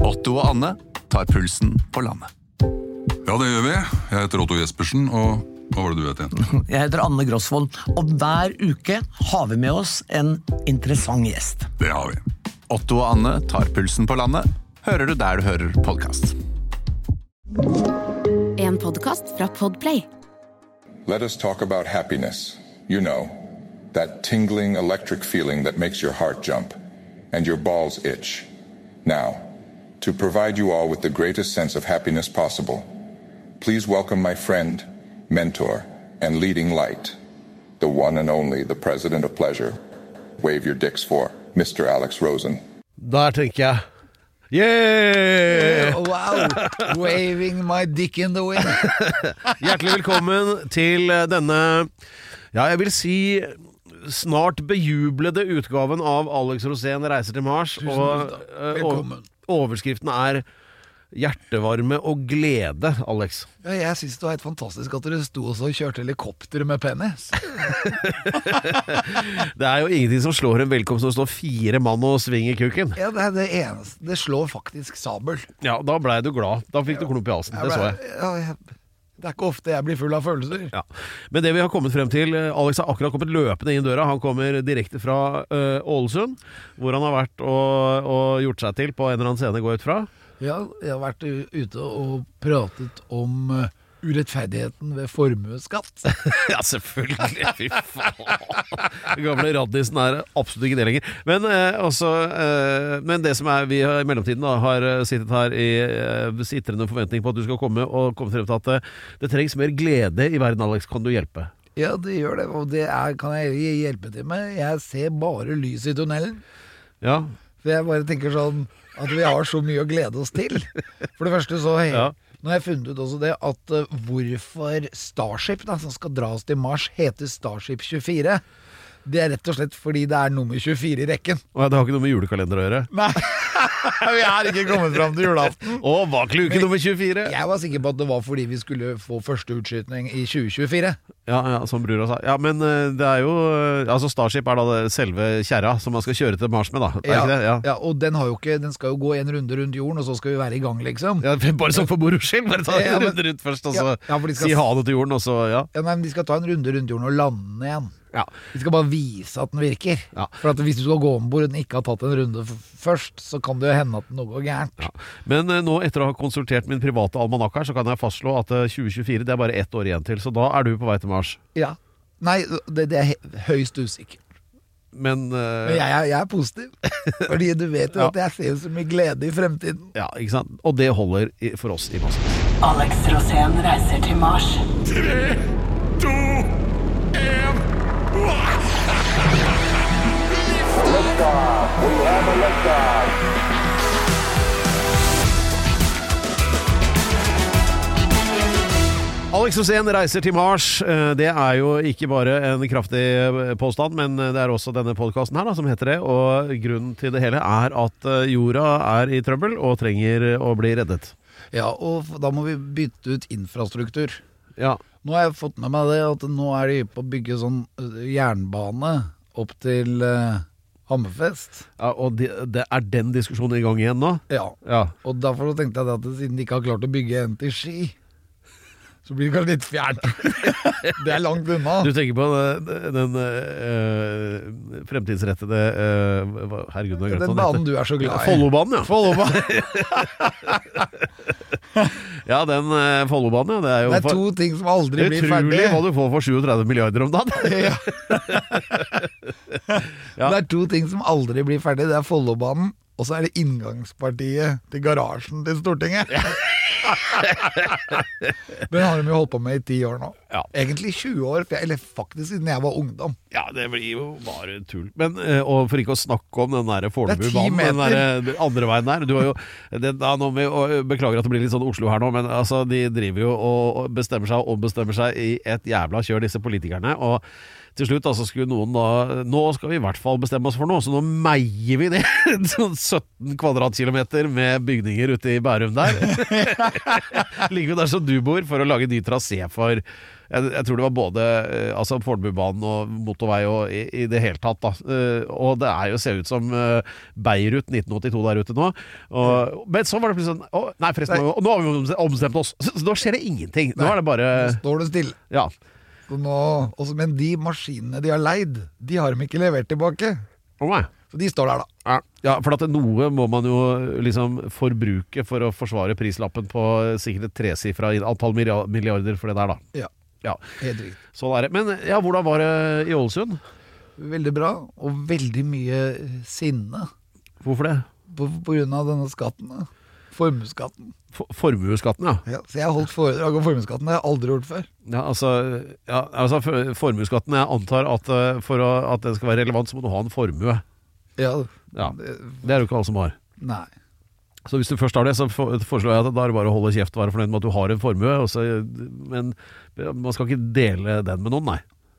Otto og Anne tar pulsen på landet. Ja, det gjør vi. Jeg heter Otto Jespersen, og hva var det du het igjen? Jeg heter Anne Grosvold, og hver uke har vi med oss en interessant gjest. Det har vi. Otto og Anne tar pulsen på landet, hører du der du hører podkast. En podkast fra Podplay. Let us talk about happiness. You know, that tingling electric feeling that makes your heart jump and your balls itch. Now, to provide you all with the greatest sense of happiness possible, please welcome my friend, mentor, and leading light, the one and only, the president of pleasure. Wave your dicks for Mr. Alex Rosen. Der tenker jeg Yeah! Wow, waving my dick in the wind. Hjertelig velkommen til denne Ja, jeg vil si snart bejublede utgaven av Alex Rosén reiser til Mars. og, takk. eh, Velkommen. og- overskriften er 'Hjertevarme og glede', Alex. Ja, jeg syns det var helt fantastisk at dere sto også og kjørte helikopter med penis. Det er jo ingenting som slår en velkomst som står fire mann og svinger kuken. Ja, Det er det eneste. Det slår faktisk sabel. Ja, da blei du glad. Da fikk du klump i halsen. Det så jeg. Ja, jeg. Det er ikke ofte jeg blir full av følelser. Ja. Men det vi har kommet frem til eh, Alex har akkurat kommet løpende inn døra. Han kommer direkte fra eh, Ålesund, hvor han har vært og, og gjort seg til på en eller annen scene, går jeg ut fra. Ja, jeg har vært u- ute og pratet om eh, urettferdigheten ved formuesskatt. ja, selvfølgelig! Fy faen. Den gamle raddisen er absolutt ikke det lenger. Men, eh, også, eh, men det som er vi har i mellomtiden da, har eh, sittet her i eh, sitrende forventning på at du skal komme, og komme frem til at eh, det trengs mer glede i verden, Alex. Kan du hjelpe? Ja, det gjør det, og det er, kan jeg hjelpe til med. Jeg ser bare lys i tunnelen. Ja. For jeg bare tenker sånn at vi har så mye å glede oss til. For det første så hey, Ja. Nå har jeg funnet ut også det at eh, hvorfor Starship, da, som skal dra oss til Mars, heter Starship 24. Det er rett og slett fordi det er nummer 24 i rekken. Og Det har ikke noe med julekalender å gjøre. Nei, vi er ikke kommet fram til julaften. Å, bak luke nummer 24! Jeg var sikker på at det var fordi vi skulle få første utskytning i 2024. Ja, ja, som brura sa. Ja, men eh, det er jo eh, Altså Starship er da det selve kjerra som man skal kjøre til Mars med, da. Er ikke det? Ja. ja, Og den, har jo ikke, den skal jo gå en runde rundt jorden, og så skal vi være i gang, liksom. Ja, bare sånn for moro skyld. Bare ta en Ja, men- runde rundt først, og så Ja, ja, for de skal- si ha det til jorden, og så ja. Ja, nei, men De skal ta en runde rundt jorden og lande igjen. Ja. Vi skal bare vise at den virker. Ja. For at Hvis du skal gå om bord og den ikke har tatt en runde f først, så kan det jo hende at noe går gærent. Ja. Men eh, nå, etter å ha konsultert min private almanakk her, så kan jeg fastslå at eh, 2024 det er bare ett år igjen til, så da er du på vei til Mars. Ja. Nei, det, det er he- høyst usikkert. Men, eh, Men jeg, er- jeg er positiv. Fordi du vet jo Ja. at jeg ser så mye glede i fremtiden. Ja, ikke sant? Og det holder i, for oss i masse. Alex Rosén reiser til Mars. Alex Rosén reiser til Mars. Eh, Det er jo ikke bare en kraftig eh, påstand, men det er også denne podkasten her da, som heter det. Og grunnen til det hele er at eh, jorda er i trøbbel og trenger eh, å bli reddet. Ja, og f- da må vi bytte ut infrastruktur. Ja, Nå har jeg fått med meg det at nå er de på å bygge sånn øh, jernbane opp til øh, Hammerfest. ja Og det, det er den diskusjonen i gang igjen nå? Ja. Ja. Og derfor så tenkte jeg det at siden de ikke har klart å bygge en til Ski, så blir det kanskje litt fjernt. Det er langt unna. Du tenker på den, den eh, fremtidsrettede eh, hva- Herregud, nå har jeg glemt hva den Den heter. banen du er så glad i. Follobanen, ja. ja, den eh, Follobanen, ja. Det er jo Det er fa- to ting som aldri blir ferdig. Utrolig hva du får for 37 milliarder om dagen. Ja. Ja. Det er to ting som aldri blir ferdig. Det er Follobanen, og så er det inngangspartiet til garasjen til Stortinget. Den har de jo holdt på med i ti år nå. Ja. Egentlig 20 år, for jeg- eller faktisk siden jeg var ungdom. Ja, det blir jo bare tull. Men, eh, og for ikke å snakke om den der Det er ti Fornebubanen, den meter. der den andre veien der. Du har jo, det, da, nå må vi, og, beklager at det blir litt sånn Oslo her nå, men altså, de driver jo og og bestemmer seg og ombestemmer seg i et jævla kjør, disse politikerne. Og til slutt da, så skulle noen da Nå skal vi i hvert fall bestemme oss for noe, så nå meier vi ned sånn 17 kvadratkilometer med bygninger ute i Bærum der. Ligger vi der som du bor, for å lage ny trasé for jeg, jeg tror det var både eh, altså Fornebubanen og motorvei og i, i det hele tatt. da Eh, Og det er jo ser ut som eh, Beirut 1982 der ute nå. Og, men så var det plutselig sånn å, Nei, forresten, nå- nå har vi omse- ombestemt oss! Så, så nå skjer det ingenting. Nå er det bare Står det stille. Ja. Så nå- også- Men de maskinene de har leid, de har de ikke levert tilbake. Å, nei. Så de står der, da. Ja, Ja, for at noe må man jo liksom forbruke for å forsvare prislappen på sikkert et tresifra antall millia- milliarder for det der, da. Ja, Ja, helt riktig. sånn er det. Men ja, hvordan var det i Ålesund? Veldig bra, og veldig mye sinne Hvorfor det? på, på grunn av denne skatten. da. Formuesskatten. For, formuesskatten, ja. Ja, så jeg har holdt foredrag om formuesskatten, det har jeg aldri gjort før. Ja, altså, ja, altså for- Formuesskatten. Jeg antar at eh, for å, at den skal være relevant, så må du ha en formue. Ja, Ja, Det er det jo ikke alle som har. nei. Så hvis du først har det, så for- foreslår jeg at da er det bare å holde kjeft og være fornøyd med at du har en formue. Og så, men man skal ikke dele den med noen, nei.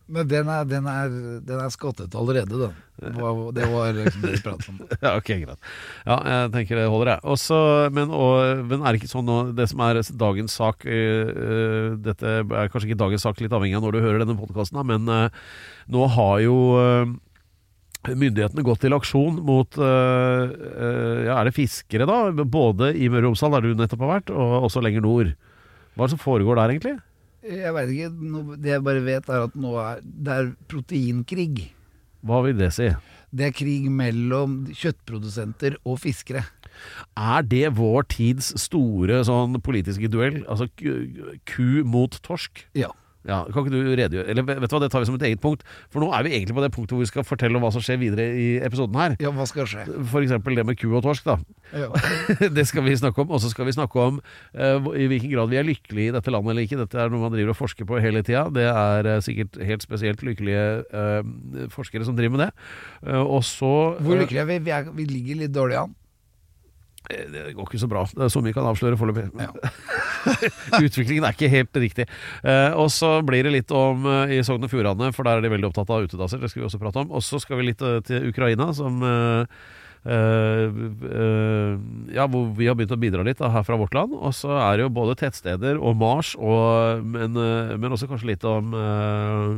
Men den er, den er, den er skottet allerede, den. Det var- Det var liksom det vi pratet om. Ja, ok, greit. Ja, jeg tenker det holder, jeg. Også, men, og, men er det ikke sånn nå, det som er dagens sak øh, øh, Dette er kanskje ikke dagens sak, litt avhengig av når du hører denne podkasten, men øh, nå har jo øh, myndighetene gått til aksjon mot øh, øh, Ja, er det fiskere, da? Både i Møre og Romsdal, der du nettopp har vært, og også lenger nord. Hva er det som foregår der, egentlig? Jeg veit ikke, nå- det jeg bare vet er at nå er det er proteinkrig. Hva vil det si? Det er krig mellom kjøttprodusenter og fiskere. Er det vår tids store sånn politiske duell? Altså ku- ku mot torsk? Ja. Ja, kan ikke du redegjøre Eller vet du hva, det tar vi som et eget punkt For nå er vi egentlig på det punktet hvor vi skal fortelle om hva som skjer videre i episoden her Ja, hva skal skje? For eksempel det med ku og torsk da Ja. Det skal vi snakke om Og så skal vi snakke om eh, hvor- i hvilken grad vi er lykkelige i dette landet eller ikke Dette er noe man driver og forsker på hele tiden Det er eh, sikkert helt spesielt lykkelige eh, forskere som driver med det Eh, Og så Hvor lykkelig er vi? Vi, er, vi ligger litt dårlig an. Eh, Det går ikke så bra. Det er så mye jeg kan avsløre foreløpig. Utviklingen er ikke helt riktig. Eh, og så blir det litt om eh, i Sogn og Fjordane, for der er de veldig opptatt av utedasser. Det skal vi også prate om. Og så skal vi litt eh, til Ukraina, som eh, eh, eh, ja, hvor vi har begynt å bidra litt da, her fra vårt land. Og så er det jo både tettsteder og Mars, og, men, eh, men også kanskje litt om eh,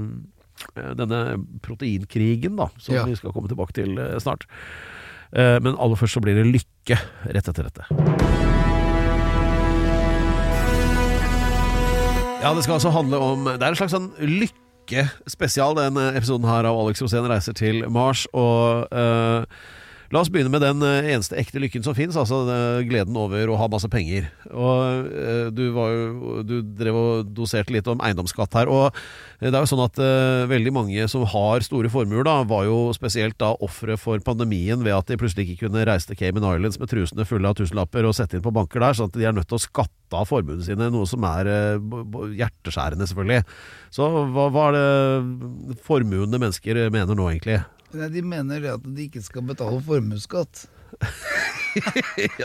denne proteinkrigen, da, som Ja. vi skal komme tilbake til eh, snart. Eh, Men aller først så blir det lykke rett etter dette. Ja, det skal altså handle om Det er en slags sånn lykke spesial, den eh, episoden her av Alex Rosén reiser til Mars. Og eh, la oss begynne med den eh, eneste ekte lykken som fins, altså eh, gleden over å ha masse penger. Og eh, du var jo Du drev og doserte litt om eiendomsskatt her. Og eh, det er jo sånn at eh, veldig mange som har store formuer, da, var jo spesielt da ofre for pandemien ved at de plutselig ikke kunne reise til Cayman Islands med trusene fulle av tusenlapper og sette inn på banker der, sånn at de er nødt til å skatte av formuene sine, noe som er eh, b- b- hjerteskjærende, selvfølgelig. Så hva, hva er det formuende mennesker mener nå, egentlig? Nei, De mener det at de ikke skal betale formuesskatt.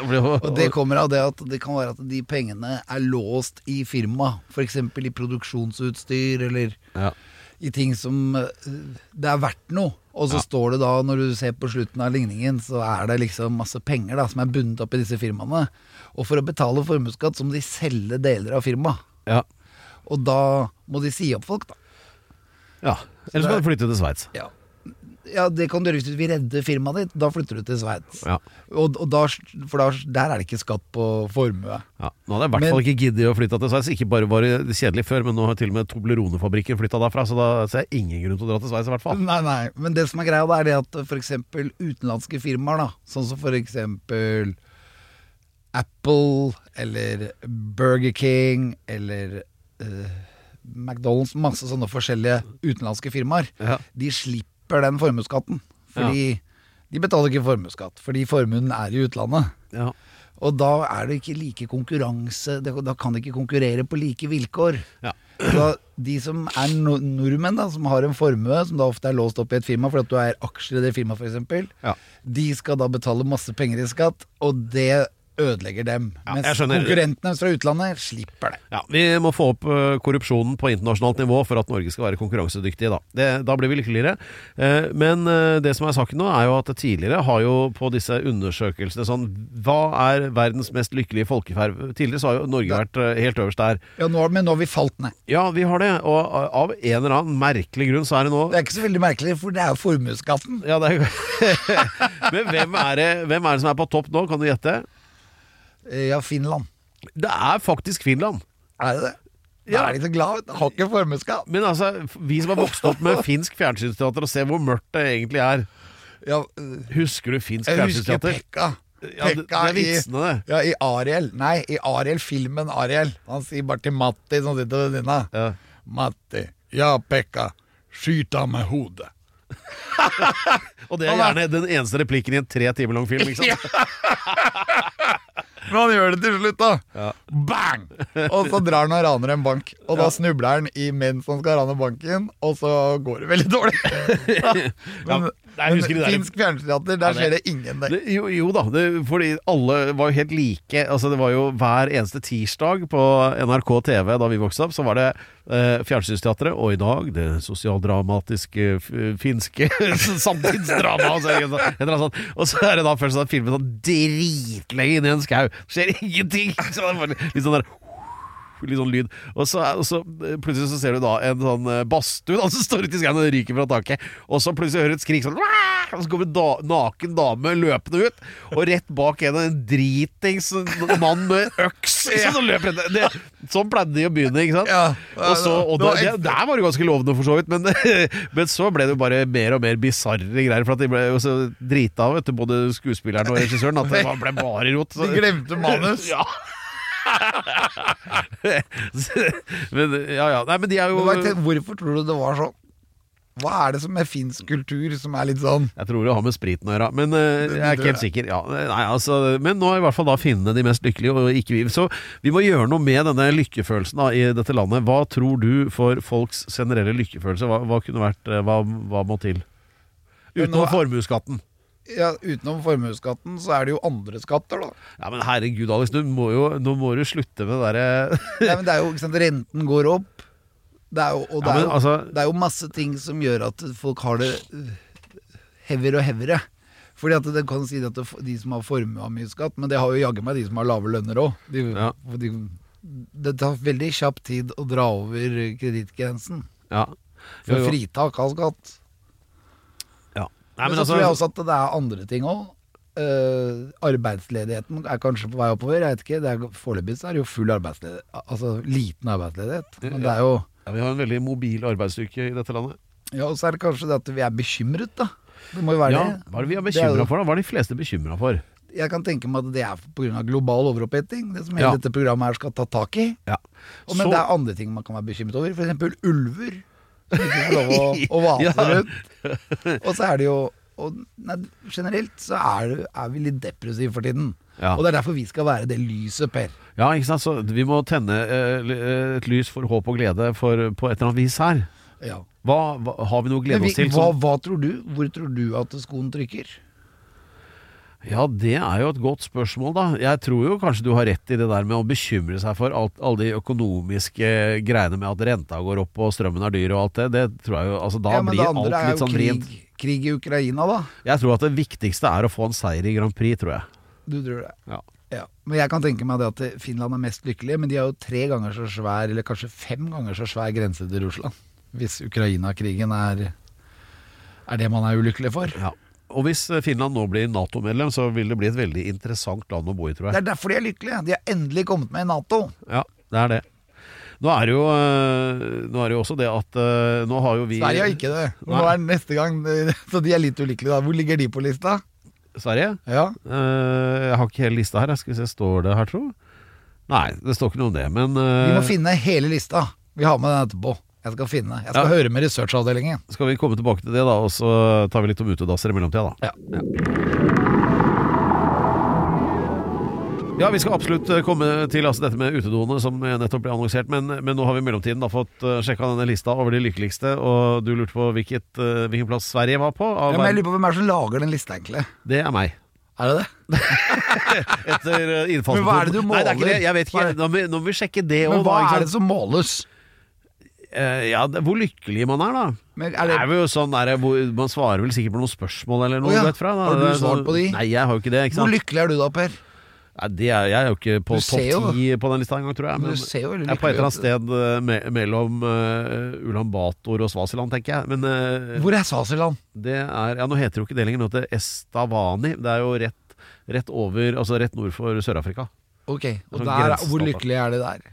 Og det kommer av det at det kan være at de pengene er låst i firmaet. F.eks. i produksjonsutstyr eller ja. i ting som eh, det er verdt noe. Og så står det da, når du ser på slutten av ligningen, så er det liksom masse penger da, som er bundet opp i disse firmaene. Og for å betale formuesskatt så må de selge deler av firmaet. Ja. Og da må de si opp folk, da. ja. Eller så kan du flytte til Sveits. Ja, ja det kan du gjøre hvis du vil redde firmaet ditt. Da flytter du til Sveits. Ja. Og, og da, for da, der er det ikke skatt på formue. Ja. Nå hadde jeg i hvert Men- fall ikke giddet å flytte til Sveits. Ikke bare var det kjedelig før, men nå har til og med Toblerone-fabrikken flytta derfra, så da ser jeg ingen grunn til å dra til Sveits, i hvert fall. Nei, nei, men det som er greia, da, er det at f.eks. utenlandske firmaer, da, sånn som f.eks. Apple eller Burger King eller eh, McDonald's, masse sånne forskjellige utenlandske firmaer, Ja. de slipper den formuesskatten. Fordi de betaler ikke formuesskatt, fordi formuen er i utlandet. Ja. Og da er det ikke like konkurranse, det- da kan de ikke konkurrere på like vilkår. Ja. Så de som er no nordmenn, da, som har en formue, som da ofte er låst opp i et firma fordi at du eier aksjer i det firmaet f.eks., Ja. de skal da betale masse penger i skatt, og det ødelegger dem. mens jeg skjønner. konkurrentene fra utlandet slipper det. Ja, Vi må få opp eh, korrupsjonen på internasjonalt nivå for at Norge skal være konkurransedyktige. Da, det, da blir vi lykkeligere. Eh, Men eh, det som er saken nå, er jo at tidligere har jo på disse undersøkelsene sånn Hva er verdens mest lykkelige folkeferd? Tidligere så har jo Norge vært eh, helt øverst der. Ja, nå, men nå har vi falt ned. Ja, vi har det. Og eh, av en eller annen merkelig grunn så er det nå Det er ikke så veldig merkelig, for det er jo formuesskatten. ja, det er... Men hvem er det, hvem er det som er på topp nå? Kan du gjette? Eh, Ja, Finland. Det er faktisk Finland. Er det det? Da Ja. er de så glad, har ikke formuesskatt. Men altså, f- vi som har vokst opp med finsk fjernsynsteater og ser hvor mørkt det egentlig er Ja, eh, Husker du finsk jeg husker fjernsynsteater? Pekka. Ja, det- Pekka det er vitsene, det. I, ja, I Ariel. Nei, i Ariel, filmen Ariel. Han sier bare til Matti som sitter ved siden av. Ja. Matti. Ja, Pekka. Skyt av med hodet. Og det er Han er- gjerne den eneste replikken i en tre timer lang film. Ikke sant? Men han gjør det til slutt, da. Bang! Og så drar han og raner en bank. Og da snubler han i mens han skal rane banken, og så går det veldig dårlig. men jeg men husker det der- finsk fjernsynsteater, der skjer det ingen der. Det, jo, jo da, det, fordi alle var jo helt like. Altså Det var jo hver eneste tirsdag på NRK TV da vi vokste opp, så var det eh, Fjernsynsteatret, og i dag det sosialdramatiske f finske samtidsdrama. Altså, et eller annet sånt. Og så er det da først sånn filmen sånn dritlenge inni en skau. Skjer ingenting! Så det er bare litt sånn der litt sånn lyd. Og så, og så eh, plutselig så ser du da en sånn eh, badstue da, som står ute i skauen og ryker fra taket. Og så plutselig hører du et skrik sånn «Wah!» Og så kommer en da, naken dame løpende ut, og rett bak henne en dritings mann med øks. Sånn, og løper etter. det, sånn pleide de å begynne, ikke sant? Ja. og så, og Det da, var det, ekstra- der var det ganske lovende, for så vidt, men, men så ble det jo bare mer og mer bisarre greier. For at de ble jo så drita av, vet du, både skuespilleren og regissøren, at det var- ble bare rot. De glemte manus. Ja. men, ja, ja. Nei, men de er Men jo hva er det- Hvorfor tror du det var sånn? Hva er det som med finsk kultur som er litt sånn Jeg tror det har med spriten å gjøre, men eh, jeg er ikke helt sikker. Ja, nei, altså, men nå er i hvert fall da finnene de mest lykkelige, og ikke vi. Så vi må gjøre noe med denne lykkefølelsen da, i dette landet. Hva tror du for folks generelle lykkefølelse? Hva, hva kunne vært eh, hva, hva må til? Men Utenom nå- formuesskatten. ja, Utenom formuesskatten, så er det jo andre skatter, da. Ja, men herregud, Alex, du må jo, nå må du slutte med det eh, derre Nei, men det er jo, ikke sant, Renten går opp. Det er jo, og det, Ja, men er jo, altså- det er jo masse ting som gjør at folk har det øh, hevigere og hevigere. Fordi at det kan si at det, de som har formue, har mye skatt, men det har jo jaggu meg de som har lave lønner òg. De, Ja. de, det tar veldig kjapp tid å dra over kredittgrensen ja. for Jo, jo. fritak av skatt. ja. altså- men, så tror jeg også at det er andre ting òg. arbeidsledigheten er kanskje på vei oppover. Jeg vet ikke, det er- Foreløpig så er det jo full arbeidsledighet, altså liten arbeidsledighet. Men det er jo Ja, vi har en veldig mobil arbeidsstyrke i dette landet. Ja, og så er det kanskje det at vi er bekymret, da. Det må jo være ja, det. Hva er det vi er Det er bekymra jo- for, da? Hva er de fleste bekymra for? Jeg kan tenke meg at det er pga. global overoppheting, det som hele Ja. dette programmet her skal ta tak i. Ja. Og, men Så- det er andre ting man kan være bekymret over, f.eks. ulver. Som ikke er lov å, å vase Ja. rundt. Og så er det jo og, nei, Generelt så er, det- er vi litt depressive for tiden. Ja. Og det er derfor vi skal være det lyset, Per. Ja, ikke sant? Så vi må tenne eh, l- eh, et lys for håp og glede for, på et eller annet vis her. Ja. Hva, hva, har vi noe å Men glede vi, oss til? Sånn- hva, som- hva tror du? Hvor tror du at skoen trykker? Ja, det er jo et godt spørsmål, da. Jeg tror jo kanskje du har rett i det der med å bekymre seg for alt, alle de økonomiske greiene med at renta går opp og strømmen er dyr og alt det. Det tror jeg jo Altså, da ja, men blir det andre alt er litt jo sånn vrient. krig, krig i Ukraina, da. Jeg tror at det viktigste er å få en seier i Grand Prix, tror jeg. Du tror det. Ja. Ja, men jeg kan tenke meg det at Finland er mest lykkelige, men de har jo tre ganger så svær, eller kanskje fem ganger så svær grense til Russland. Hvis Ukraina-krigen er, er det man er ulykkelig for. Ja. Og hvis eh, Finland nå blir Nato-medlem, så vil det bli et veldig interessant land å bo i, tror Det jeg. er derfor de er lykkelige. De har endelig kommet med i Nato. Ja, det er det. Nå er det jo, øh, nå er det jo også det at øh, nå har jo vi Sverige har ikke det. Nå Nei. er det neste gang, Så de er litt ulykkelige, da. Hvor ligger de på lista? Sverige? Ja. Øh, jeg har ikke hele lista her. jeg Skal vi se, Står det her, tro? Nei, det står ikke noe om det, men Vi øh, må finne hele lista. Vi har med den etterpå. Jeg skal finne. Jeg skal Ja. høre med researchavdelingen. skal vi komme tilbake til det, da? Og så tar vi litt om utedasser i mellomtida, da. Ja. Ja, vi skal absolutt komme til altså, dette med utedoene som nettopp ble annonsert, men, men nå har vi i mellomtiden da fått uh, sjekka denne lista over de lykkeligste, og du lurte på hvilket, eh, hvilken plass Sverige var på? av Ja, men jeg verden. lurer på hvem er det som lager den lista, egentlig. Det er meg. Er det det? Etter eh, innfallsporten. Men hva er det du Nei, det er ikke måler? det. Jeg vet Hva ikke. er det? Nå må, vi- nå må vi sjekke det Men òg, hva da. Ikke er sant? det som måles? Eh, ja, det, hvor lykkelig man er, da. Men er er det- jo sånn der, hvor, Man svarer vel sikkert på noen spørsmål eller noe. Å ja, du vet fra, da. har du Det er svart sånn- på de? Nei, jeg har jo ikke det. ikke Hvor sant? lykkelig er du da, Per? Nei, det er, jeg er jo ikke på Du ser jo- topp ti på den lista engang, tror jeg. Men du ser jo veldig jeg er på et lykkelig eller annet sted eh, me mellom eh, Ulan Bator og Svasiland, tenker jeg. Men eh, Hvor er Swaziland? det er Ja, nå heter jo ikke det lenger, nå heter det Estavani. Det er jo rett, rett over Altså rett nord for Sør-Afrika. Ok, og Sånn der, grensestater. Hvor lykkelig er de der?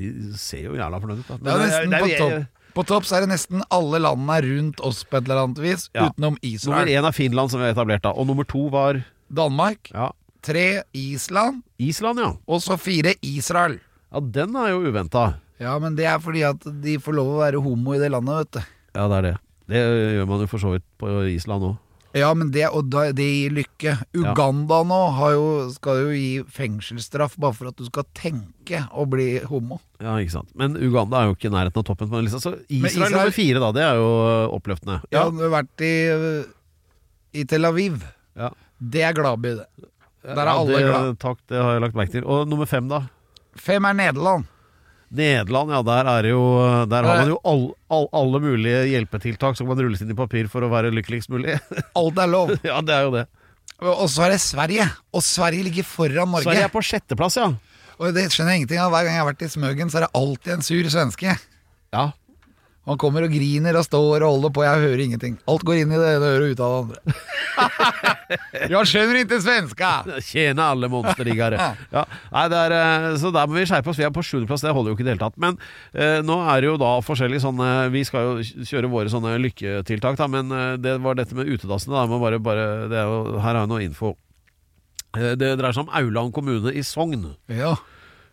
De ser jo jævla fornøyd ut, da. eh, Det er nesten det er- på det er- topp. På topp så er det nesten alle landene rundt oss på et eller annet vis, Ja. utenom Nummer Israel. én er Finland, som vi har etablert, da. Og nummer to var Danmark. ja, Tre Island. Island, ja. Og så fire Israel. Ja, den er jo uventa. Ja, men det er fordi at de får lov å være homo i det landet, vet du. Ja, det er det. Det gjør man jo for så vidt på Island òg. Ja, men det, og da, det gir lykke. Uganda nå har jo, skal jo gi fengselsstraff bare for at du skal tenke å bli homo. Ja, ikke sant. Men Uganda er jo ikke i nærheten av toppen på den lista. Så Israel, Israel- nummer fire, da. Det er jo oppløftende. Jeg har vært i, i Tel Aviv. Ja. Det er gladby, det. Der er Ja, alle det, glad. Takk, det har jeg lagt merke til. Og nummer fem, da? Fem er Nederland. Nederland, ja. Der, er jo, der har Der- man jo all, all, alle mulige hjelpetiltak som kan rulles inn i papir for å være lykkeligst mulig. Alt er lov. ja, det er jo det. Og så er det Sverige. Og Sverige ligger foran Norge. Sverige er på sjetteplass, ja. Og det skjønner jeg ingenting av. Hver gang jeg har vært i Smøgen, så er det alltid en sur svenske. Ja, Han kommer og griner og står og holder på, jeg hører ingenting. Alt går inn i det ene øret og ut av det andre. jeg skjønner ikke svenska! Tjene alle monsterriggere. Ja. Nei, det er, eh, så der må vi skjerpe oss. Vi er på sjuendeplass, det holder jo ikke i det hele tatt. Men eh, nå er det jo da forskjellige sånne Vi skal jo kjøre våre sånne lykketiltak, da, men eh, det var dette med utedassene. Da. Jeg Må bare, bare, det er jo, her har jeg noe info. Eh, Det dreier seg om Auland kommune i Sogn. Ja.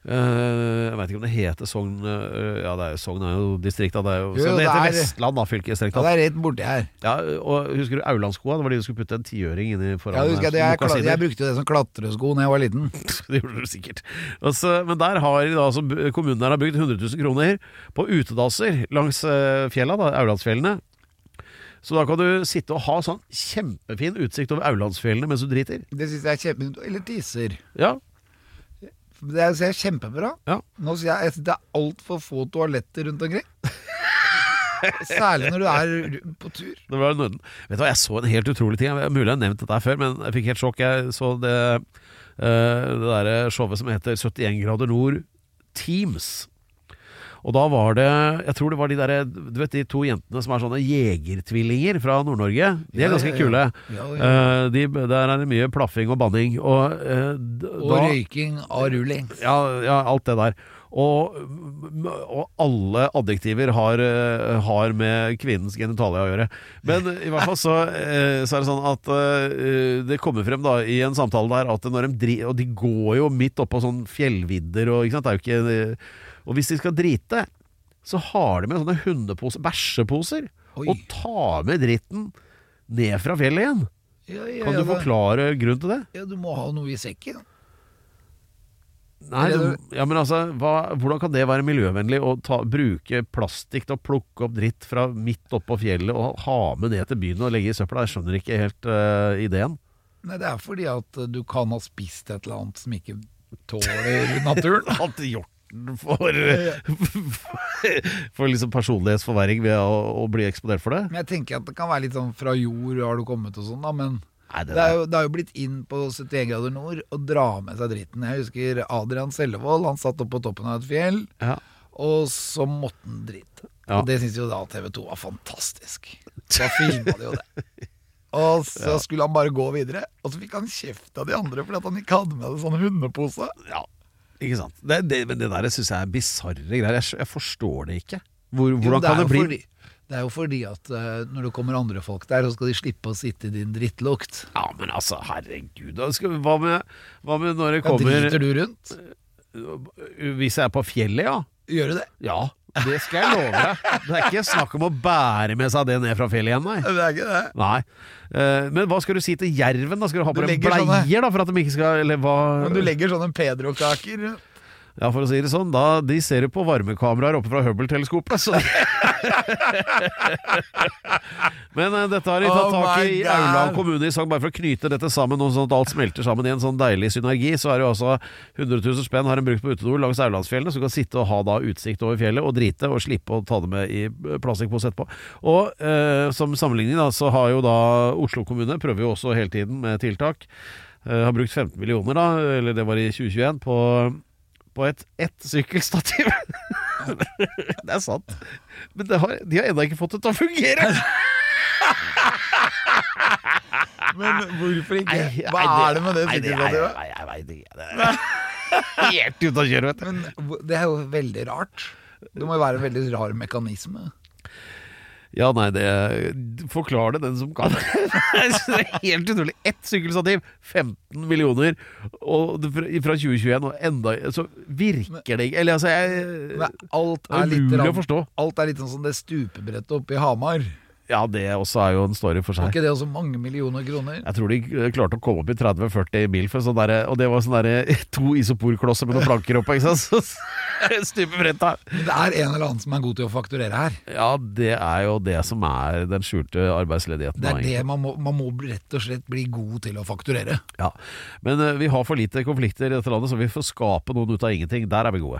Eh, jeg veit ikke om det heter Sogn eh, Ja, det er jo Sogn er jo distrikt, da. Det, er jo, Jo, så det det heter er- Vestland, da, fylkesdistrikt. ja, da. det er rett borti her. Ja, og husker du Aulandskoa? Det var de du skulle putte en tiøring inni foran Ja, du husker, at jeg, mokasiner. jeg, jeg brukte jo det som klatresko da jeg var liten. Det gjorde du sikkert. Og så- men der har de da, altså, b- kommunen der har brukt 100 000 kroner på utedasser langs eh, fjella, da, Aulandsfjellene. Så da kan du sitte og ha sånn kjempefin utsikt over Aulandsfjellene mens du driter. Det syns jeg er kjempe... Eller tisser. Ja, Det er- det er kjempebra. ja. Nå sier jeg, jeg synes det er altfor få toaletter rundt omkring. Særlig når du er på tur. Det var nøden. Vet du hva, jeg så en helt utrolig ting. Jeg- Mulig jeg har nevnt dette her før, men jeg fikk helt sjokk. Jeg så det, eh, det derre showet som heter 71 grader nord Teams. Og da var det Jeg tror det var de derre Du vet de to jentene som er sånne jegertvillinger fra Nord-Norge? De er Ja, ganske ja, ja. kule. Ja, ja. Eh, de, der er det mye plaffing og banning. Og, eh, d- Og da- røyking av rulling. ja, ja, alt det der. Og, og alle adjektiver har, eh, har med kvinnens genitalia å gjøre. Men i hvert fall så, eh, så er det sånn at eh, det kommer frem da i en samtale der at når de dri Og de går jo midt oppå sånn fjellvidder og ikke sant, det er jo ikke eh, Og hvis de skal drite, så har de med sånne hundeposer, bæsjeposer, Oi. og tar med dritten ned fra fjellet igjen. Ja, ja, Kan ja, du da- forklare grunnen til det? Ja, du må ha noe i sekken. Nei, Eller- du- ja, men altså, hva, Hvordan kan det være miljøvennlig å ta, bruke plastikk til å plukke opp dritt fra midt oppå fjellet og ha med ned til byen og legge i søpla? Jeg skjønner ikke helt eh, ideen. Nei, det er fordi at eh, du kan ha spist et eller annet som ikke tåler naturen. At hjorten får, får liksom personlighetsforverring ved å, å bli eksponert for det? Men jeg tenker at det kan være litt sånn fra jord har du kommet og sånn, da, men Nei, det det er, jo, det er jo blitt inn på 71 grader nord å dra med seg dritten. Jeg husker Adrian Sellevold, han satt oppe på toppen av et fjell, Ja. og så måtte han drite. Ja. Og det syntes jo da TV 2 var fantastisk. Da filma de jo det. Og så skulle han bare gå videre, og så fikk han kjeft av de andre fordi at han ikke hadde med seg sånn hundepose. ja. Ikke sant. Det, det, men det der syns jeg er bisarre greier. Jeg, skj- jeg forstår det ikke. Hvor, Jo, hvordan det er kan det jo bli Fordi, det er jo fordi at eh, når det kommer andre folk der, så skal de slippe å sitte i din drittlukt. Ja, men altså, herregud. da Skal, vi- hva, med, hva med når det Da kommer driter du rundt. Hvis jeg er på fjellet, ja. Gjør du det? Ja, det skal jeg love deg. Det er ikke snakk om å bære med seg det ned fra fjellet igjen, nei. Det er ikke det. Nei. Eh, Men hva skal du si til jerven, da? Skal du ha Du på deg legger sånne- bleier, da, for at de ikke skal Eller hva Men du legger sånne Pedro-kaker Ja, for å si det sånn, da De ser jo på varmekameraer oppe fra Hubble-teleskopet, så Men eh, dette har de Oh tatt tak i my i God. Aurland kommune i Sogn. Bare for å knyte dette sammen, og sånn at alt smelter sammen i en sånn deilig synergi, så er det jo altså 100 000 spenn har en brukt på utedo langs Aurlandsfjellene, så du kan sitte og ha da utsikt over fjellet og drite og slippe å ta det med i eh, plastikkpose etterpå. Og eh, som sammenligning da, så har jo da Oslo kommune prøver jo også hele tiden med tiltak. Eh, har brukt 15 millioner, da, eller det var i 2021, på, på et ett sykkelstativ. det er sant. Men det har, de har ennå ikke fått det til å fungere! Men hvorfor ikke? Nei, Hva nei, er det med det nei, er- sykkelstativet? Nei, jeg vet ikke. Det er helt ute å kjøre, vet du. Men hvor- det er jo veldig rart. Det må jo være en veldig rar mekanisme. Ja, nei, det Forklar det, den som kan. Jeg synes det er helt utrolig. Ett sykkelstativ, 15 millioner, og det, fra fra 2021, og enda Så virker det ikke Eller altså, jeg Men alt Det er er litt umulig å rann- forstå. Alt er litt sånn som det stupebrettet oppe i Hamar. Ja, det også er jo en story for Var seg. ikke det også mange millioner kroner? Jeg tror de eh, klarte å komme opp i 30-40 mil, for sånn derre- og det var sånn derre to isoporklosser med noen planker oppå, ikke sant? Så stuper bretta. Det er en eller annen som er god til å fakturere her. Ja, det er jo det som er den skjulte arbeidsledigheten. Det da, er egentlig. det man må, man må rett og slett bli god til å fakturere. Ja. Men eh, vi har for lite konflikter i dette landet, så vi får skape noen ut av ingenting. Der er vi gode.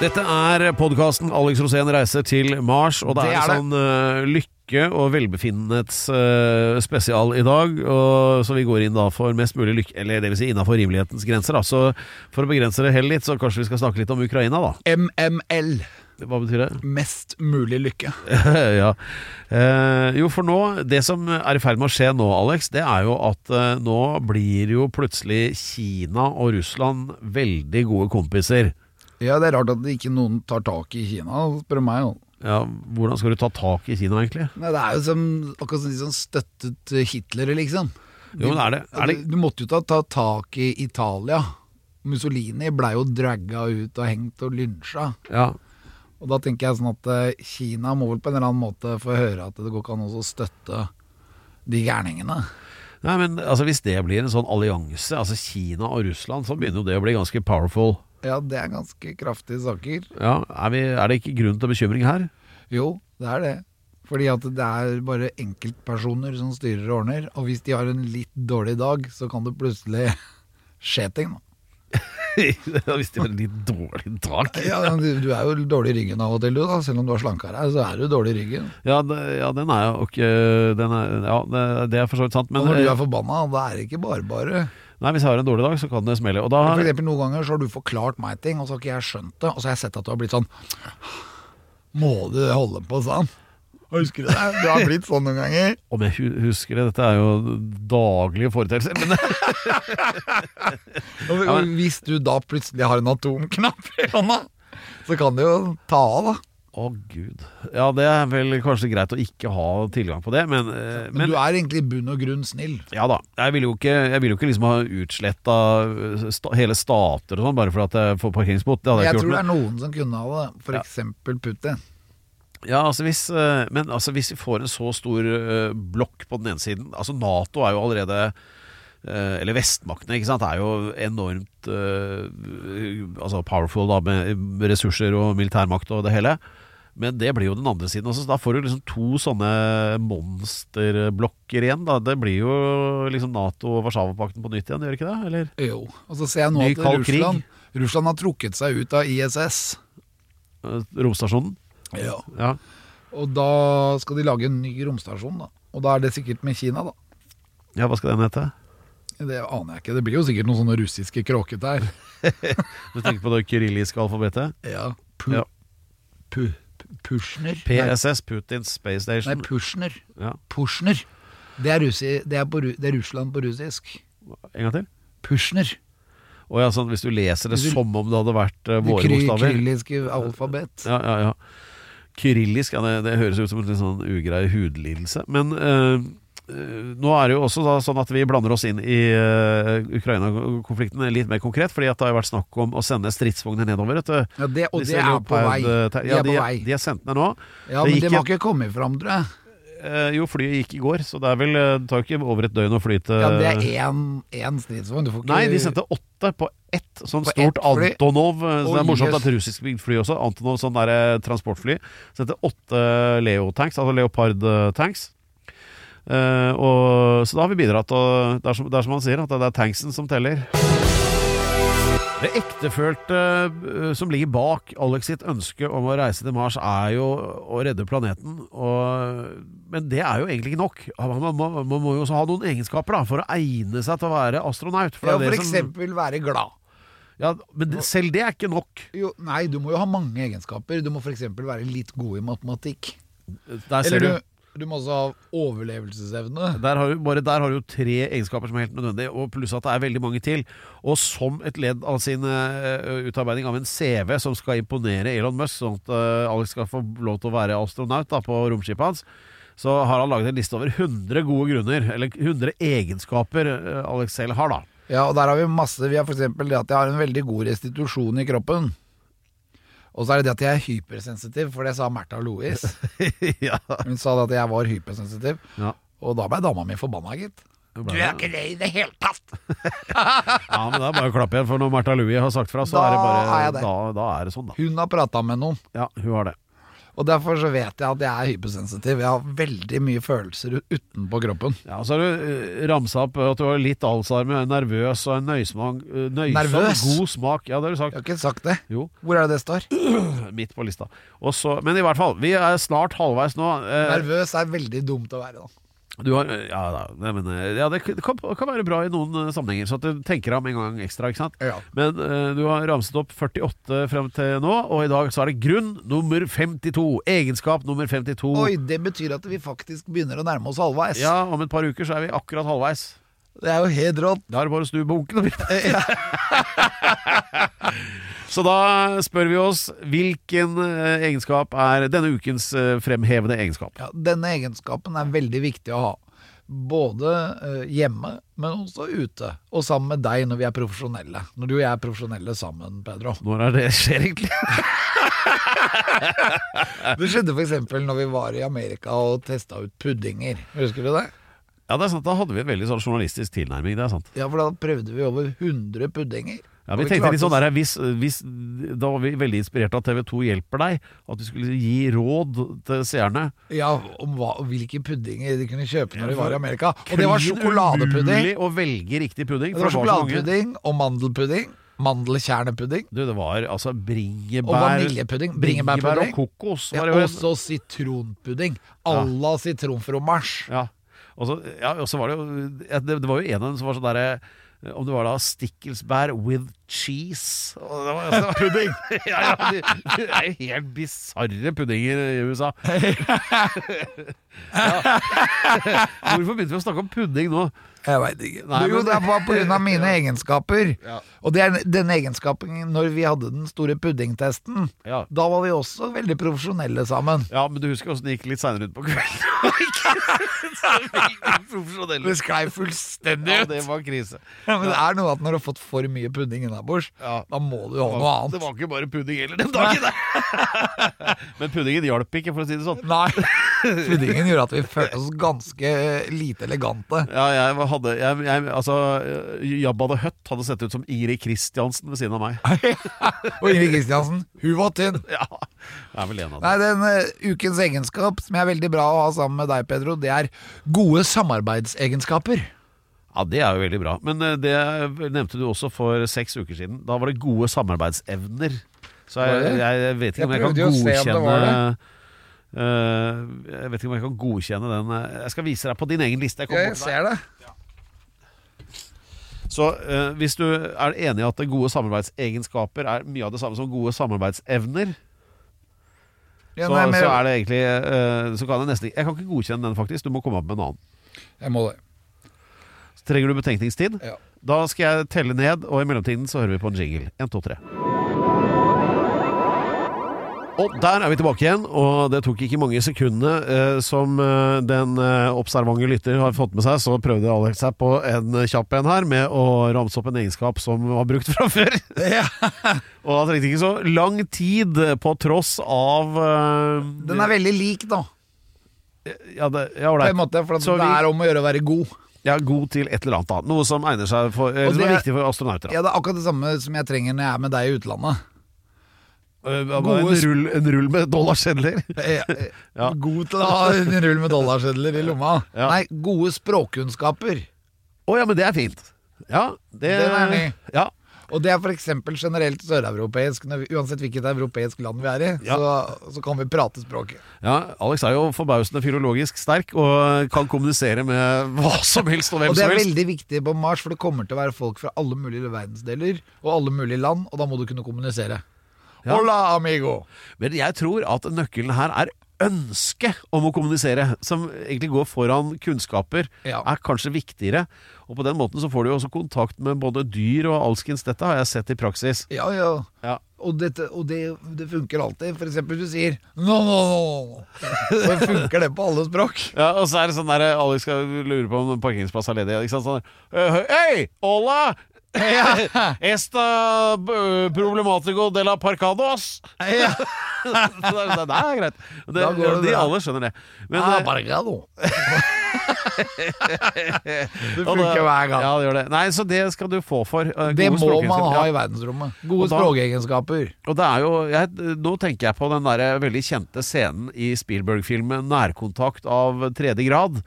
Dette er podkasten Alex Rosén reiser til Mars, og det, Det er, er det. en sånn eh, lykke og velbefinnenhets eh, spesial i dag. Og, så vi går inn da for mest mulig lykke, eller det vil si innafor rimelighetens grenser. Da. Så for å begrense det hele litt, så kanskje vi skal snakke litt om Ukraina, da. MML. Hva betyr det? Mest mulig lykke. ja. Eh, jo, for nå Det som er i ferd med å skje nå, Alex, det er jo at eh, nå blir jo plutselig Kina og Russland veldig gode kompiser. Ja, det er rart at ikke noen tar tak i Kina, spør du meg. jo. Ja, hvordan skal du ta tak i Kina, egentlig? Nei, det er jo som, akkurat som de som støttet Hitler, liksom. Jo, men er det, er det Du måtte jo ta, ta tak i Italia. Mussolini blei jo dragga ut og hengt og lynsja. Ja. Og da tenker jeg sånn at eh, Kina må vel på en eller annen måte få høre at det går ikke an også å støtte de gærningene. Nei, men altså, hvis det blir en sånn allianse, altså Kina og Russland, så begynner jo det å bli ganske powerful. Ja, det er ganske kraftige saker. Ja, er, vi, er det ikke grunn til bekymring her? Jo, det er det. Fordi at det er bare enkeltpersoner som styrer og ordner, og hvis de har en litt dårlig dag, så kan det plutselig skje ting. da. hvis det var en litt dårlig tak. Ja, men du, du er jo dårlig i ryggen av og til, du da. Selv om du har slanka deg, så er du dårlig i ryggen. Ja, det, ja, den er jo ikke den er, Ja, det, det er for så vidt sant, men Og når du eh, er forbanna, da er det ikke bare bare. Nei, hvis jeg har en dårlig dag, så kan det smelle. Og da For eksempel noen ganger så har du forklart meg ting, og så har ikke jeg skjønt det, og så har jeg sett at du har blitt sånn Må du holde på sånn? Husker du det? Du har blitt sånn noen ganger. Om jeg hu- husker det, dette er jo daglige foreteelser. Men Og Ja, og hvis du da plutselig har en atomknapp i hånda, så kan det jo ta av, da. å gud. Ja, det er vel kanskje greit å ikke ha tilgang på det, men, eh, Men, men du er egentlig i bunn og grunn snill. ja da. Jeg vil jo ikke, jeg vil jo ikke liksom ha utsletta sta, hele stater og sånn bare for at jeg får parkeringsbot. Det hadde jeg Jeg ikke tror gjort. det men- er noen som kunne ha det, for Ja. eksempel Putin. Ja, altså hvis, eh, men altså hvis vi får en så stor eh, blokk på den ene siden Altså Nato er jo allerede eh, Eller vestmaktene, ikke sant, er jo enormt eh, altså powerful da, med ressurser og militærmakt og det hele. Men det blir jo den andre siden også, så da får du liksom to sånne monsterblokker igjen. da Det blir jo liksom Nato og Warszawapakten på nytt igjen, gjør det ikke det? Eller? Jo. Og så ser jeg nå Ny at kald krig. Russland, Russland har trukket seg ut av ISS. Eh, Romstasjonen? Ja. Ja. Og da skal de lage en ny romstasjon, da. Og da er det sikkert med Kina, da. ja, hva skal den hete? Det aner jeg ikke. Det blir jo sikkert noen sånne russiske kråketær. Du tenker på det kyrilliske alfabetet? Ja. Pu Ja. pu pu Pushner? Nei, PSS, Putins Space Nei, Station. Pushner. Ja. Pushner. Det er, russi, det, er på, ru- det er Russland på russisk. En gang til? Pushner. Og ja, sånn, hvis du leser det Hvis du- som om det hadde vært uh, Det våre kry- bokstaver kyrilliske alfabet. ja, ja, ja. Kyrillisk, ja, det, det høres ut som en litt sånn ugrei hudlidelse. Men eh, eh, nå er det jo også da sånn at vi blander oss inn i eh, Ukraina-konflikten litt mer konkret, fordi at det har jo vært snakk om å sende stridsvogner nedover. Vet du. Ja, det- og Disse det er på Leopard- vei. te- De Ja, er de, på vei. de er sendt ned nå. Ja, Det men det gikk var ikke kommet fram, tror jeg. Eh, jo, flyet gikk i går, så det er vel eh, Det tar jo ikke over et døgn å fly til Ja, men det er e- én- én stridsvogn. Du får ikke Øh. Nei, de sendte åtte på ett sånn På stort ett fly? Antonov. eh, Så det Oi, er morsomt jøss. at russisk bygd fly også. Antonov, sånn der eh, transportfly. Sendte åtte Leo-tanks, altså Leopard-tanks. Eh, og, så da har vi bidratt, og det er, som, det er som han sier, at det er tanksen som teller. Det ektefølte eh, som ligger bak Alex sitt ønske om å reise til Mars, er jo å redde planeten. Og, men det er jo egentlig ikke nok. Man må, man må jo også ha noen egenskaper da, for å egne seg til å være astronaut. det Ja, for er det som- eksempel være glad. ja, men det, selv det er ikke nok. Jo, nei, du må jo ha mange egenskaper. Du må f.eks. være litt god i matematikk. Der ser Eller du. du, du må også ha overlevelsesevne. Der har, du, bare der har du jo tre egenskaper som er helt nødvendige, og pluss at det er veldig mange til. Og som et ledd av sin eh, utarbeiding av en CV som skal imponere Elon Musk, sånn at eh, Alex skal få lov til å være astronaut da, på romskipet hans, så har han laget en liste over 100 gode grunner, eller 100 egenskaper eh, Alex selv har, da. Ja, og der har vi masse. Vi har f.eks. det at jeg har en veldig god restitusjon i kroppen. Og så er det det at jeg er hypersensitiv, for det sa Märtha Louise. ja. Hun sa det at jeg var hypersensitiv. Ja. Og da ble dama mi forbanna, gitt. Du er ikke det i det hele tatt! ja, men det er bare å klappe igjen, for når Märtha Louie har sagt fra, så Da er det bare er jeg der. da, da er det sånn, da. Hun har prata med noen, Ja, hun har det. og derfor så vet jeg at jeg er hypersensitiv. Jeg har veldig mye følelser u- utenpå kroppen. Ja, og så har du eh, ramsa opp at du har litt Alzheimer, er nervøs og en nøysmak, eh, nøysom, Nervøs? god smak. Ja, det har du Jeg sagt. har ikke sagt det. Jo, Hvor er det det står? midt på lista. Og så- men i hvert fall, vi er snart halvveis nå. Eh, Nervøs er veldig dumt å være, da. du har, ja, da, nei, men, eh, ja, det kan, kan være bra i noen eh, sammenhenger, så at du tenker deg om en gang ekstra. ikke sant? Ja. Men eh, du har ramset opp 48 frem til nå, og i dag så er det grunn nummer 52. Egenskap nummer 52. Oi, det betyr at vi faktisk begynner å nærme oss halvveis. Ja, Om et par uker så er vi akkurat halvveis. Det er jo helt rått. Da er det bare å snu bunken. Eh, Så da spør vi oss hvilken eh, egenskap er denne ukens eh, fremhevende egenskap. Ja, denne egenskapen er veldig viktig å ha. Både eh, hjemme, men også ute. Og sammen med deg når vi er profesjonelle. Når du og jeg er profesjonelle sammen, Pedro. Når er det skjer egentlig? Det skjedde f.eks. når vi var i Amerika og testa ut puddinger. Husker du det? Ja, det er sant, Da hadde vi en veldig sånn journalistisk tilnærming. det er sant Ja, for da prøvde vi over 100 puddinger. ja, Og vi tenkte klarte litt sånn oss- der, hvis, hvis, Da var vi veldig inspirert av TV 2 hjelper deg. At vi skulle gi råd til seerne. Ja, om hva, hvilke puddinger de kunne kjøpe når de var i Amerika. Og det var sjokoladepudding. Umulig å velge riktig pudding. Det var så mange. sjokoladepudding og mandelpudding. Mandelkjernepudding. Du, det var altså bringebær Og vaniljepudding, Bringebær bringebærpudding. og kokos. Ja, var det jo en- også sitronpudding. À la sitronfromasj. Ja. Og så, ja, og så var det jo ja, det, det var jo en av dem som var sånn derre eh, Om det var da stikkelsbær with cheese og det var, altså, Pudding! ja, ja, det, det er jo helt bisarre puddinger i USA. ja. Hvorfor begynte vi å snakke om pudding nå? Jeg veit ikke. Nei, jo, men- det var pga. mine egenskaper. Og det er denne egenskapen når vi hadde den store puddingtesten. Ja. Da var vi også veldig profesjonelle sammen. Ja, men du husker åssen det gikk litt seinere utpå kvelden? Ikke så veldig profesjonelle. Det sklei fullstendig Ja, ut. det var krise. Men det er noe at når du har fått for mye pudding innabords, Ja. da må du jo ha noe Det annet. var ikke bare pudding heller den dagen. men puddingen hjalp ikke, for å si det sånn. Nei. Puddingen gjorde at vi følte oss ganske lite elegante. Ja, jeg var- hadde jeg, jeg, Altså, Jabba the Hutt hadde sett ut som Ingrid Kristiansen ved siden av meg. Og Ingrid Kristiansen, hun var tynn. Ja, det er vel en av dem. Nei, den eh, ukens egenskap som er veldig bra å ha sammen med deg, Pedro, det er gode samarbeidsegenskaper. Ja, det er jo veldig bra. Men eh, det nevnte du også for seks uker siden. Da var det gode samarbeidsevner. Så jeg, det? jeg vet ikke om jeg Jeg kan prøvde jo å se om det godkjenne var eh, Jeg vet ikke om jeg kan godkjenne den eh, Jeg skal vise deg på din egen liste. Jeg kommer bort til deg. det. Så eh, hvis du er enig i at gode samarbeidsegenskaper er mye av det samme som gode samarbeidsevner, Ja, så, nei, men, så er det egentlig eh, Så kan jeg nesten Jeg kan ikke godkjenne den, faktisk. Du må komme opp med en annen. Jeg må det. Så trenger du betenkningstid? Ja. Da skal jeg telle ned, og i mellomtiden så hører vi på en jingle. Én, to, tre. Og der er vi tilbake igjen, og det tok ikke mange sekundene eh, som eh, den eh, observante lytter har fått med seg, så prøvde Alex seg på en eh, kjapp en her med å ramse opp en egenskap som var brukt fra før. og han trengte ikke så lang tid eh, på tross av eh, Den er veldig lik, da. ja, det, ja, På ålreit. en måte, for at Så det vi- er om å gjøre å være god. Ja, god til et eller annet, da. Noe som egner seg for Eller Og som er det- viktig for astronauter. Da. Ja, Det er akkurat det samme som jeg trenger når jeg er med deg i utlandet. Eh, gode en, sp- rull, en rull med dollarsedler. Eh, eh, Ja. God til å ha en rull med dollarsedler i lomma. Ja. Nei, gode språkkunnskaper. Å ja, men det er fint. Ja, det Den er ny. Ja. Og det er f.eks. generelt søreuropeisk. når vi- Uansett hvilket europeisk land vi er i, Ja. så, så kan vi prate språket. ja, Alex er jo forbausende filologisk sterk og kan kommunisere med hva som helst og hvem Og det som er helst. veldig viktig på Mars, for det kommer til å være folk fra alle mulige verdensdeler og alle mulige land, og da må du kunne kommunisere. Ja. Hola, amigo! Men jeg tror at nøkkelen her er ønsket om å kommunisere, som egentlig går foran kunnskaper, Ja. er kanskje viktigere. Og på den måten så får du jo også kontakt med både dyr og alskens. Dette har jeg sett i praksis. Ja, ja. Ja. Og, dette, og det, det funker alltid. For eksempel du sier no, no, no. Så funker det på alle språk. Ja, og så er det sånn der Alex skal lure på om en parkeringsplass er ledig. Ikke sant? Sånn, der, Hei, hola! Esta eh, problematico de la parcados. Ja. Så det er sånn, det er greit. Det, Da går det de bra. alle skjønner det. Men, Ah, eh, bargado. det og da- funker hver gang. Ja, det gjør det. Nei, så det skal du få for. eh, det gode må man språkkunnskaper. Ja. ha i verdensrommet. Gode Og da- språkegenskaper. Og det er jo, jeg, Nå tenker jeg på den der eh, veldig kjente scenen i Spielberg-filmen 'Nærkontakt av tredje grad',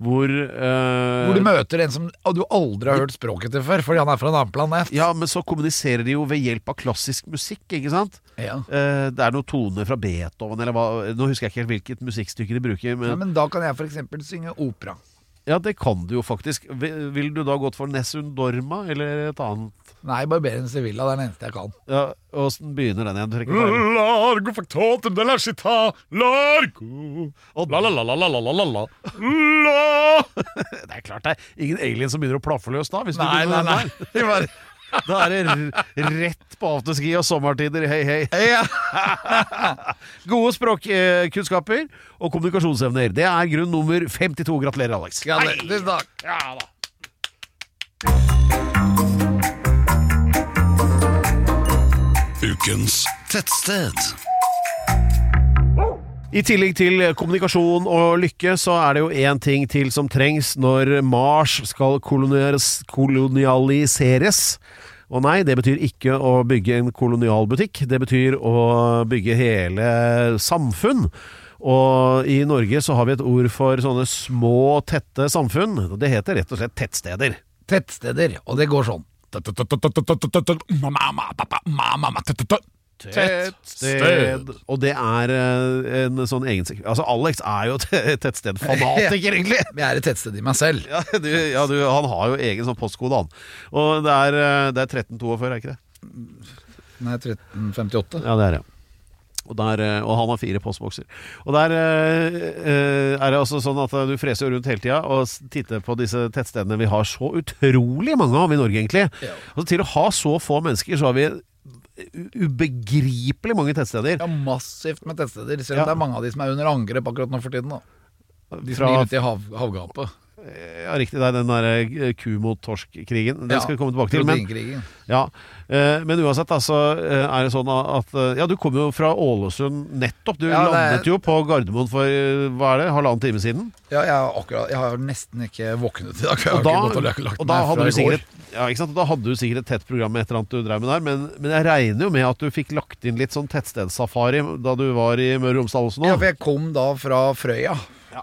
hvor eh, Hvor du møter en som og du aldri har hørt språket til før, fordi han er fra en annen planet. Ja, men så kommuniserer de jo ved hjelp av klassisk musikk, ikke sant? Ja. Eh, det er noen toner fra Beethoven eller hva Nå husker jeg ikke helt hvilket musikkstykke de bruker, men Ja, ja, men da kan jeg f.eks. synge opera. det kan du jo faktisk. Vil vil du da gått for Nessun Dorma eller et annet? Nei, Barberen Sevilla det er den eneste jeg kan. Ja, Åssen begynner den igjen? Du trekker bare- Largo factotum della città, largo. Og- La la la la la la la la la. La. Det er klart det er ingen alien som begynner å plaffe løs da. Hvis Nei, du begynner nei, med den der. Da er det r- rett på afterski og sommertider, hei hei. Gode språkkunnskaper og kommunikasjonsevner. Det er grunn nummer 52. Gratulerer, Alex. Gratulerer. Tusen takk. Ukens I tillegg til kommunikasjon og lykke, så er det jo én ting til som trengs når Mars skal kolonialis- kolonialiseres. Og nei, det betyr ikke å bygge en kolonialbutikk. Det betyr å bygge hele samfunn. Og i Norge så har vi et ord for sånne små, tette samfunn. og Det heter rett og slett tettsteder. Tettsteder. Og det går sånn. Tettsted. Og det er eh, en sånn egen sek- Altså, Alex er jo et tettstedfanatiker, egentlig. Jeg er et tettsted i meg selv. Ja, du, ja du, han har jo egen sånn postkode, han. Og det er, eh, det er 1342, er ikke det? Nei, 1358. Ja, det er det. Og, der, eh, og han har fire postbokser. Og der eh, eh, er det altså sånn at du freser jo rundt hele tida og s- titter på disse tettstedene vi har så utrolig mange av i Norge, egentlig. Og til å ha så få mennesker, så har vi eh, u- ubegripelig mange tettsteder. Ja, massivt med tettsteder. Selv om Ja. det er mange av de som er under angrep akkurat nå for tiden. da De som Fra- gir ut i hav, havgapet. Ja, riktig. Det er den der eh, ku mot torsk-krigen. Den Ja, skal vi komme tilbake til. Men, proteinkrigen. ja. eh, men uansett, da, så eh, er det sånn at eh, Ja, du kom jo fra Ålesund nettopp. Du Ja, det er- landet jo på Gardermoen for eh, hva er det, halvannen time siden. Ja, jeg, har akkurat, jeg har nesten ikke våknet i dag. Jeg har Og da, ikke gått og lagt- lagt og da, meg hadde du fra i går. sikkert, ja, ikke sant? Og da hadde du sikkert et tett program med et eller annet du drev med der, men, men jeg regner jo med at du fikk lagt inn litt sånn tettstedssafari da du var i Møre og Romsdal også nå. Ja, for jeg kom da fra Frøya,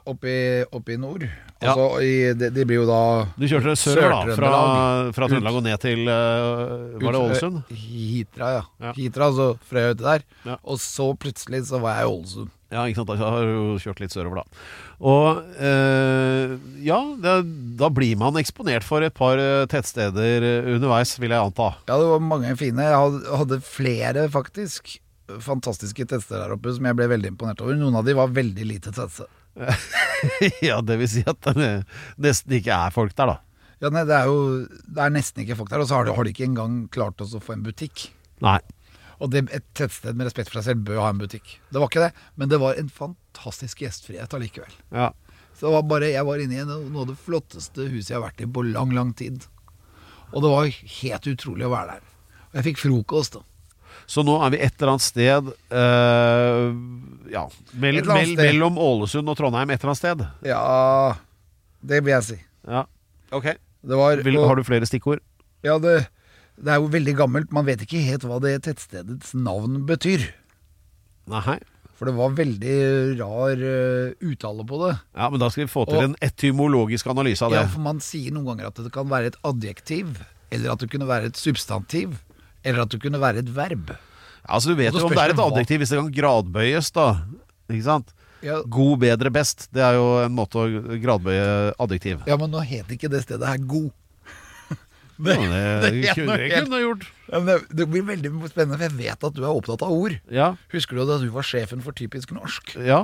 oppe i, oppe i nord. Ja. Altså, i, det, det blir jo da du kjørte sørover, da. Fra, Sør-Trøndelag. fra Trøndelag og ned til eh, Var det ut- Ålesund? eh, Hitra, ja. Ja. Hitra, altså Frøya uti der. Ja. Og så plutselig så var jeg i Ålesund. Ja, ikke sant. Da har du jo kjørt litt sørover, da. Og eh, ja, da, da blir man eksponert for et par eh, tettsteder eh, underveis, vil jeg anta. Ja, det var mange fine. Jeg hadde- hadde flere, faktisk. Fantastiske tettsteder der oppe som jeg ble veldig imponert over. Noen av de var veldig lite tettsted. ja, det vil si at det nesten ikke er folk der, da. Ja, nei, det er jo det er nesten ikke folk der, og så har de, har de ikke engang klart oss å få en butikk. Nei. Og det, et tettsted med respekt for seg selv bør ha en butikk. Det var ikke det, men det var en fantastisk gjestfrihet allikevel. Ja. Så det var bare, jeg var inne i no- noe av det flotteste huset jeg har vært i på lang, lang tid. Og det var helt utrolig å være der. Og jeg fikk frokost. da. Så nå er vi et eller annet sted eh, Ja, mell, Et eller annet mell, sted. mellom Ålesund og Trondheim et eller annet sted. Ja, det vil jeg si. Ja. Ok. Det var, Vil, har du flere stikkord? Ja, det, det er jo veldig gammelt. Man vet ikke helt hva det tettstedets navn betyr. Nei. For det var veldig rar eh, uttale på det. Ja, men da skal vi få til Og- en etymologisk analyse av det. Ja, for man sier noen ganger at det kan være et adjektiv, eller at det kunne være et substantiv, eller at det kunne være et verb. altså, du vet Og så jo om spørs det er det et hva- adjektiv hvis det kan gradbøyes, da. Ikke sant? Ja, God, bedre, best. Det er jo en måte å gradbøye adjektiv. ja men nå het ikke det stedet her God. Det, det, det er kunne noe jeg helt- kunne gjort. Ja, men Det det blir veldig spennende, for jeg vet at du er opptatt av ord. Ja. Husker du da du var sjefen for typisk norsk? ja.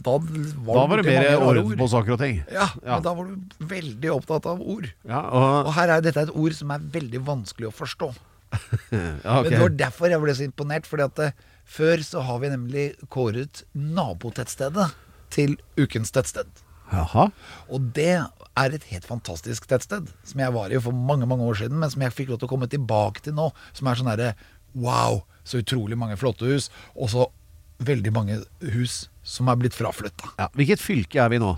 Da var, du Da var det borti mer mange rare orden ord. på saker og ting. Ja, Ja. men da var du veldig opptatt av ord. Ja, og, Og her er dette er et ord som er veldig vanskelig å forstå. ja, ok. Men det var derfor jeg ble så imponert, fordi at eh, før så har vi nemlig kåret nabotettstedet til ukens tettsted. Jaha. Og det er et helt fantastisk tettsted, som jeg var i for mange mange år siden, men som jeg fikk lov til å komme tilbake til nå. Som er sånn herre Wow! Så utrolig mange flotte hus. Og så veldig mange hus som er blitt fraflytta. Ja. Hvilket fylke er vi nå?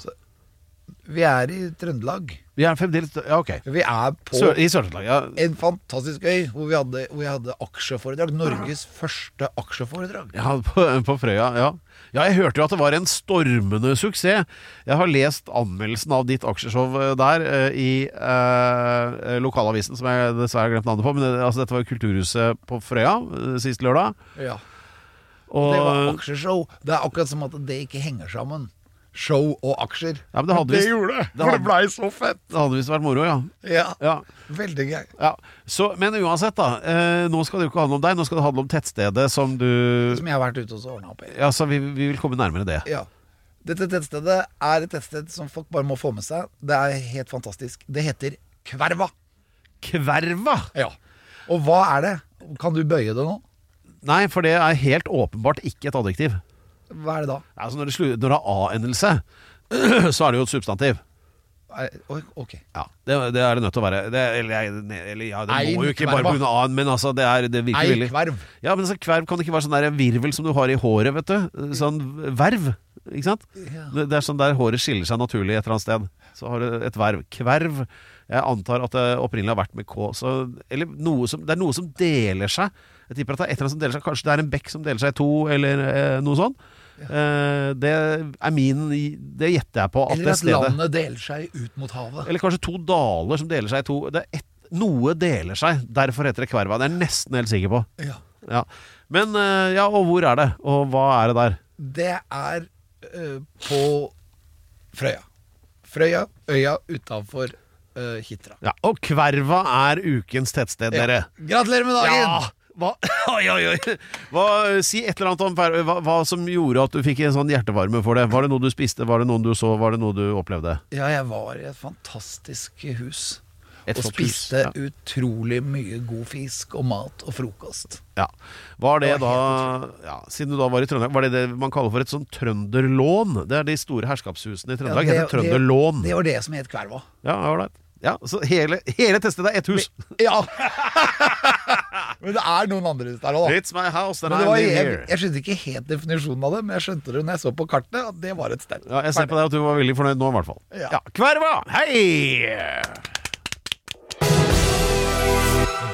Vi er i Trøndelag. Vi er fremdeles Ja, ok. Vi er på Sør, I Sør-Trøndelag. Ja. en fantastisk øy hvor vi hadde, hvor jeg hadde aksjeforedrag. Norges første aksjeforedrag. Ja, på, på Frøya, ja. Ja, jeg hørte jo at det var en stormende suksess. Jeg har lest anmeldelsen av ditt aksjeshow eh, der eh, i eh, lokalavisen, som jeg dessverre har glemt navnet på. Men det, altså, dette var jo Kulturhuset på Frøya eh, sist lørdag. Ja. Og, Det var aksjeshow. Det er akkurat som at det ikke henger sammen. Show og aksjer. ja, men det hadde visst gjorde det! for det blei så fett! det hadde visst vært moro, ja. Ja, ja. Veldig gøy. ja. Så, men uansett, da. Eh, nå skal det jo ikke handle om deg, nå skal det handle om tettstedet som du Som jeg har vært ute og så ordna opp i. Ja, så vi, vi vil komme nærmere det. Ja. Dette tettstedet er et tettsted som folk bare må få med seg. Det er helt fantastisk. Det heter Kverva. Kverva! Ja. Og hva er det? Kan du bøye det nå? Nei, for det er helt åpenbart ikke et adjektiv. Hva er det da? Altså når, det slu- når det har a-endelse, så er det jo et substantiv. Er, oi, ok. Ja, Det, det er det nødt til å være. Det, eller, jeg- ne- eller ja, det må jo ikke bare Einkverva. pga. a-en, men altså, det, er, det virker Ei veldig kverv. Ja, men så kverv kan ikke være sånn der virvel som du har i håret, vet du. Sånn verv. Ikke sant? Ja. Det, det er sånn der håret skiller seg naturlig et eller annet sted. Så har du et verv. Kverv. Jeg antar at det opprinnelig har vært med K. Så, eller noe som, det er noe som deler seg. Jeg tipper at det er et eller annet som deler seg. Kanskje det er en bekk som deler seg i to, eller eh, noe sånt. Eh, det er min Det gjetter jeg på. At Eller det at stedet landet deler seg ut mot havet. Eller kanskje to daler som deler seg i to. Det er et, noe deler seg. Derfor heter det kverva. Det er jeg nesten helt sikker på. Ja. Ja. Men eh, ja, og hvor er det? Og hva er det der? Det er eh, på Frøya. Frøya, øya utafor Hitra. Ja, og Kverva er ukens tettsted, dere. Gratulerer med dagen! Hva, oi, oi, oi. Hva, si et eller annet om Kverva. hva, hva som gjorde at du fikk en sånn hjertevarme for det. Var det noe du spiste, var det noen du så, var det noe du opplevde? Ja, jeg var i et fantastisk hus. Et og flott hus, spiste ja. utrolig mye god fisk og mat og frokost. Ja. Var det, Det da var ja, Siden du da var i Trøndelag, var det det man kaller for et sånn trønderlån? Det er de store herskapshusene i Trøndelag. Ja, heter trønderlån. Det var det som het Kverva. Ja, ålreit. Ja, så hele, hele tettstedet er ett hus. Ja! men det er noen andre hus der òg, da. It's my house, and Men I det var, live jeg, here. jeg skjønte ikke helt definisjonen av det, men jeg skjønte det når jeg så på kartet, at det var et sted. Ja, jeg ser på deg at du var veldig fornøyd nå, i hvert fall. Ja. Kverva! Hei!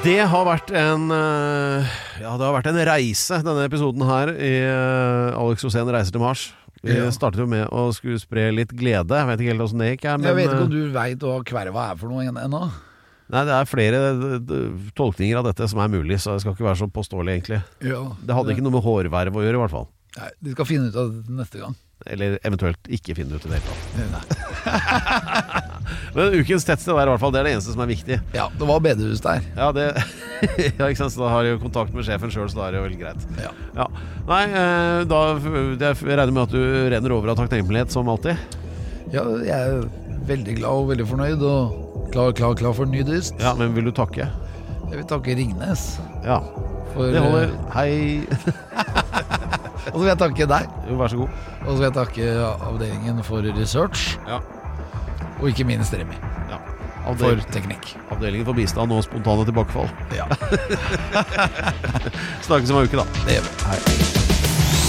Det har vært en eh, Ja, det har vært en reise, denne episoden her i eh, Alex Rosén reiser til Mars. Vi Ja. startet jo med å skulle spre litt glede. Jeg vet ikke helt åssen det gikk. Jeg, men, jeg vet ikke eh, om du veit hva kverva er for noe en- ennå? Nei, det er flere eh, d- tolkninger av dette som er mulig, så det skal ikke være så påståelig, egentlig. Ja. Det hadde ikke noe med hårverv å gjøre, i hvert fall. Nei, de skal finne ut av det neste gang. Eller eventuelt ikke finne ut i det hele tatt. Men ukens tettsted er i hvert fall det er det eneste som er viktig. Ja, det var bedehus der. Ja, det Ja, ikke sant, så da har jeg jo kontakt med sjefen sjøl, så da er det jo veldig greit. Ja. Ja. Nei, eh, da jeg regner med at du renner over av takknemlighet, som alltid. ja, jeg er veldig glad og veldig fornøyd, og klar, klar, klar for ny dyst. Ja, men vil du takke? Jeg vil takke Ringnes Ja. For, Det holder. eh, Hei. Og så vil jeg takke deg, Jo, vær så god. og så vil jeg takke avdelingen for research, Ja. og ikke minst Remi ja. for Avdel teknikk. Avdelingen for bistand og spontane tilbakefall. Ja, Snakkes om ei uke, da. det gjør vi. Hei.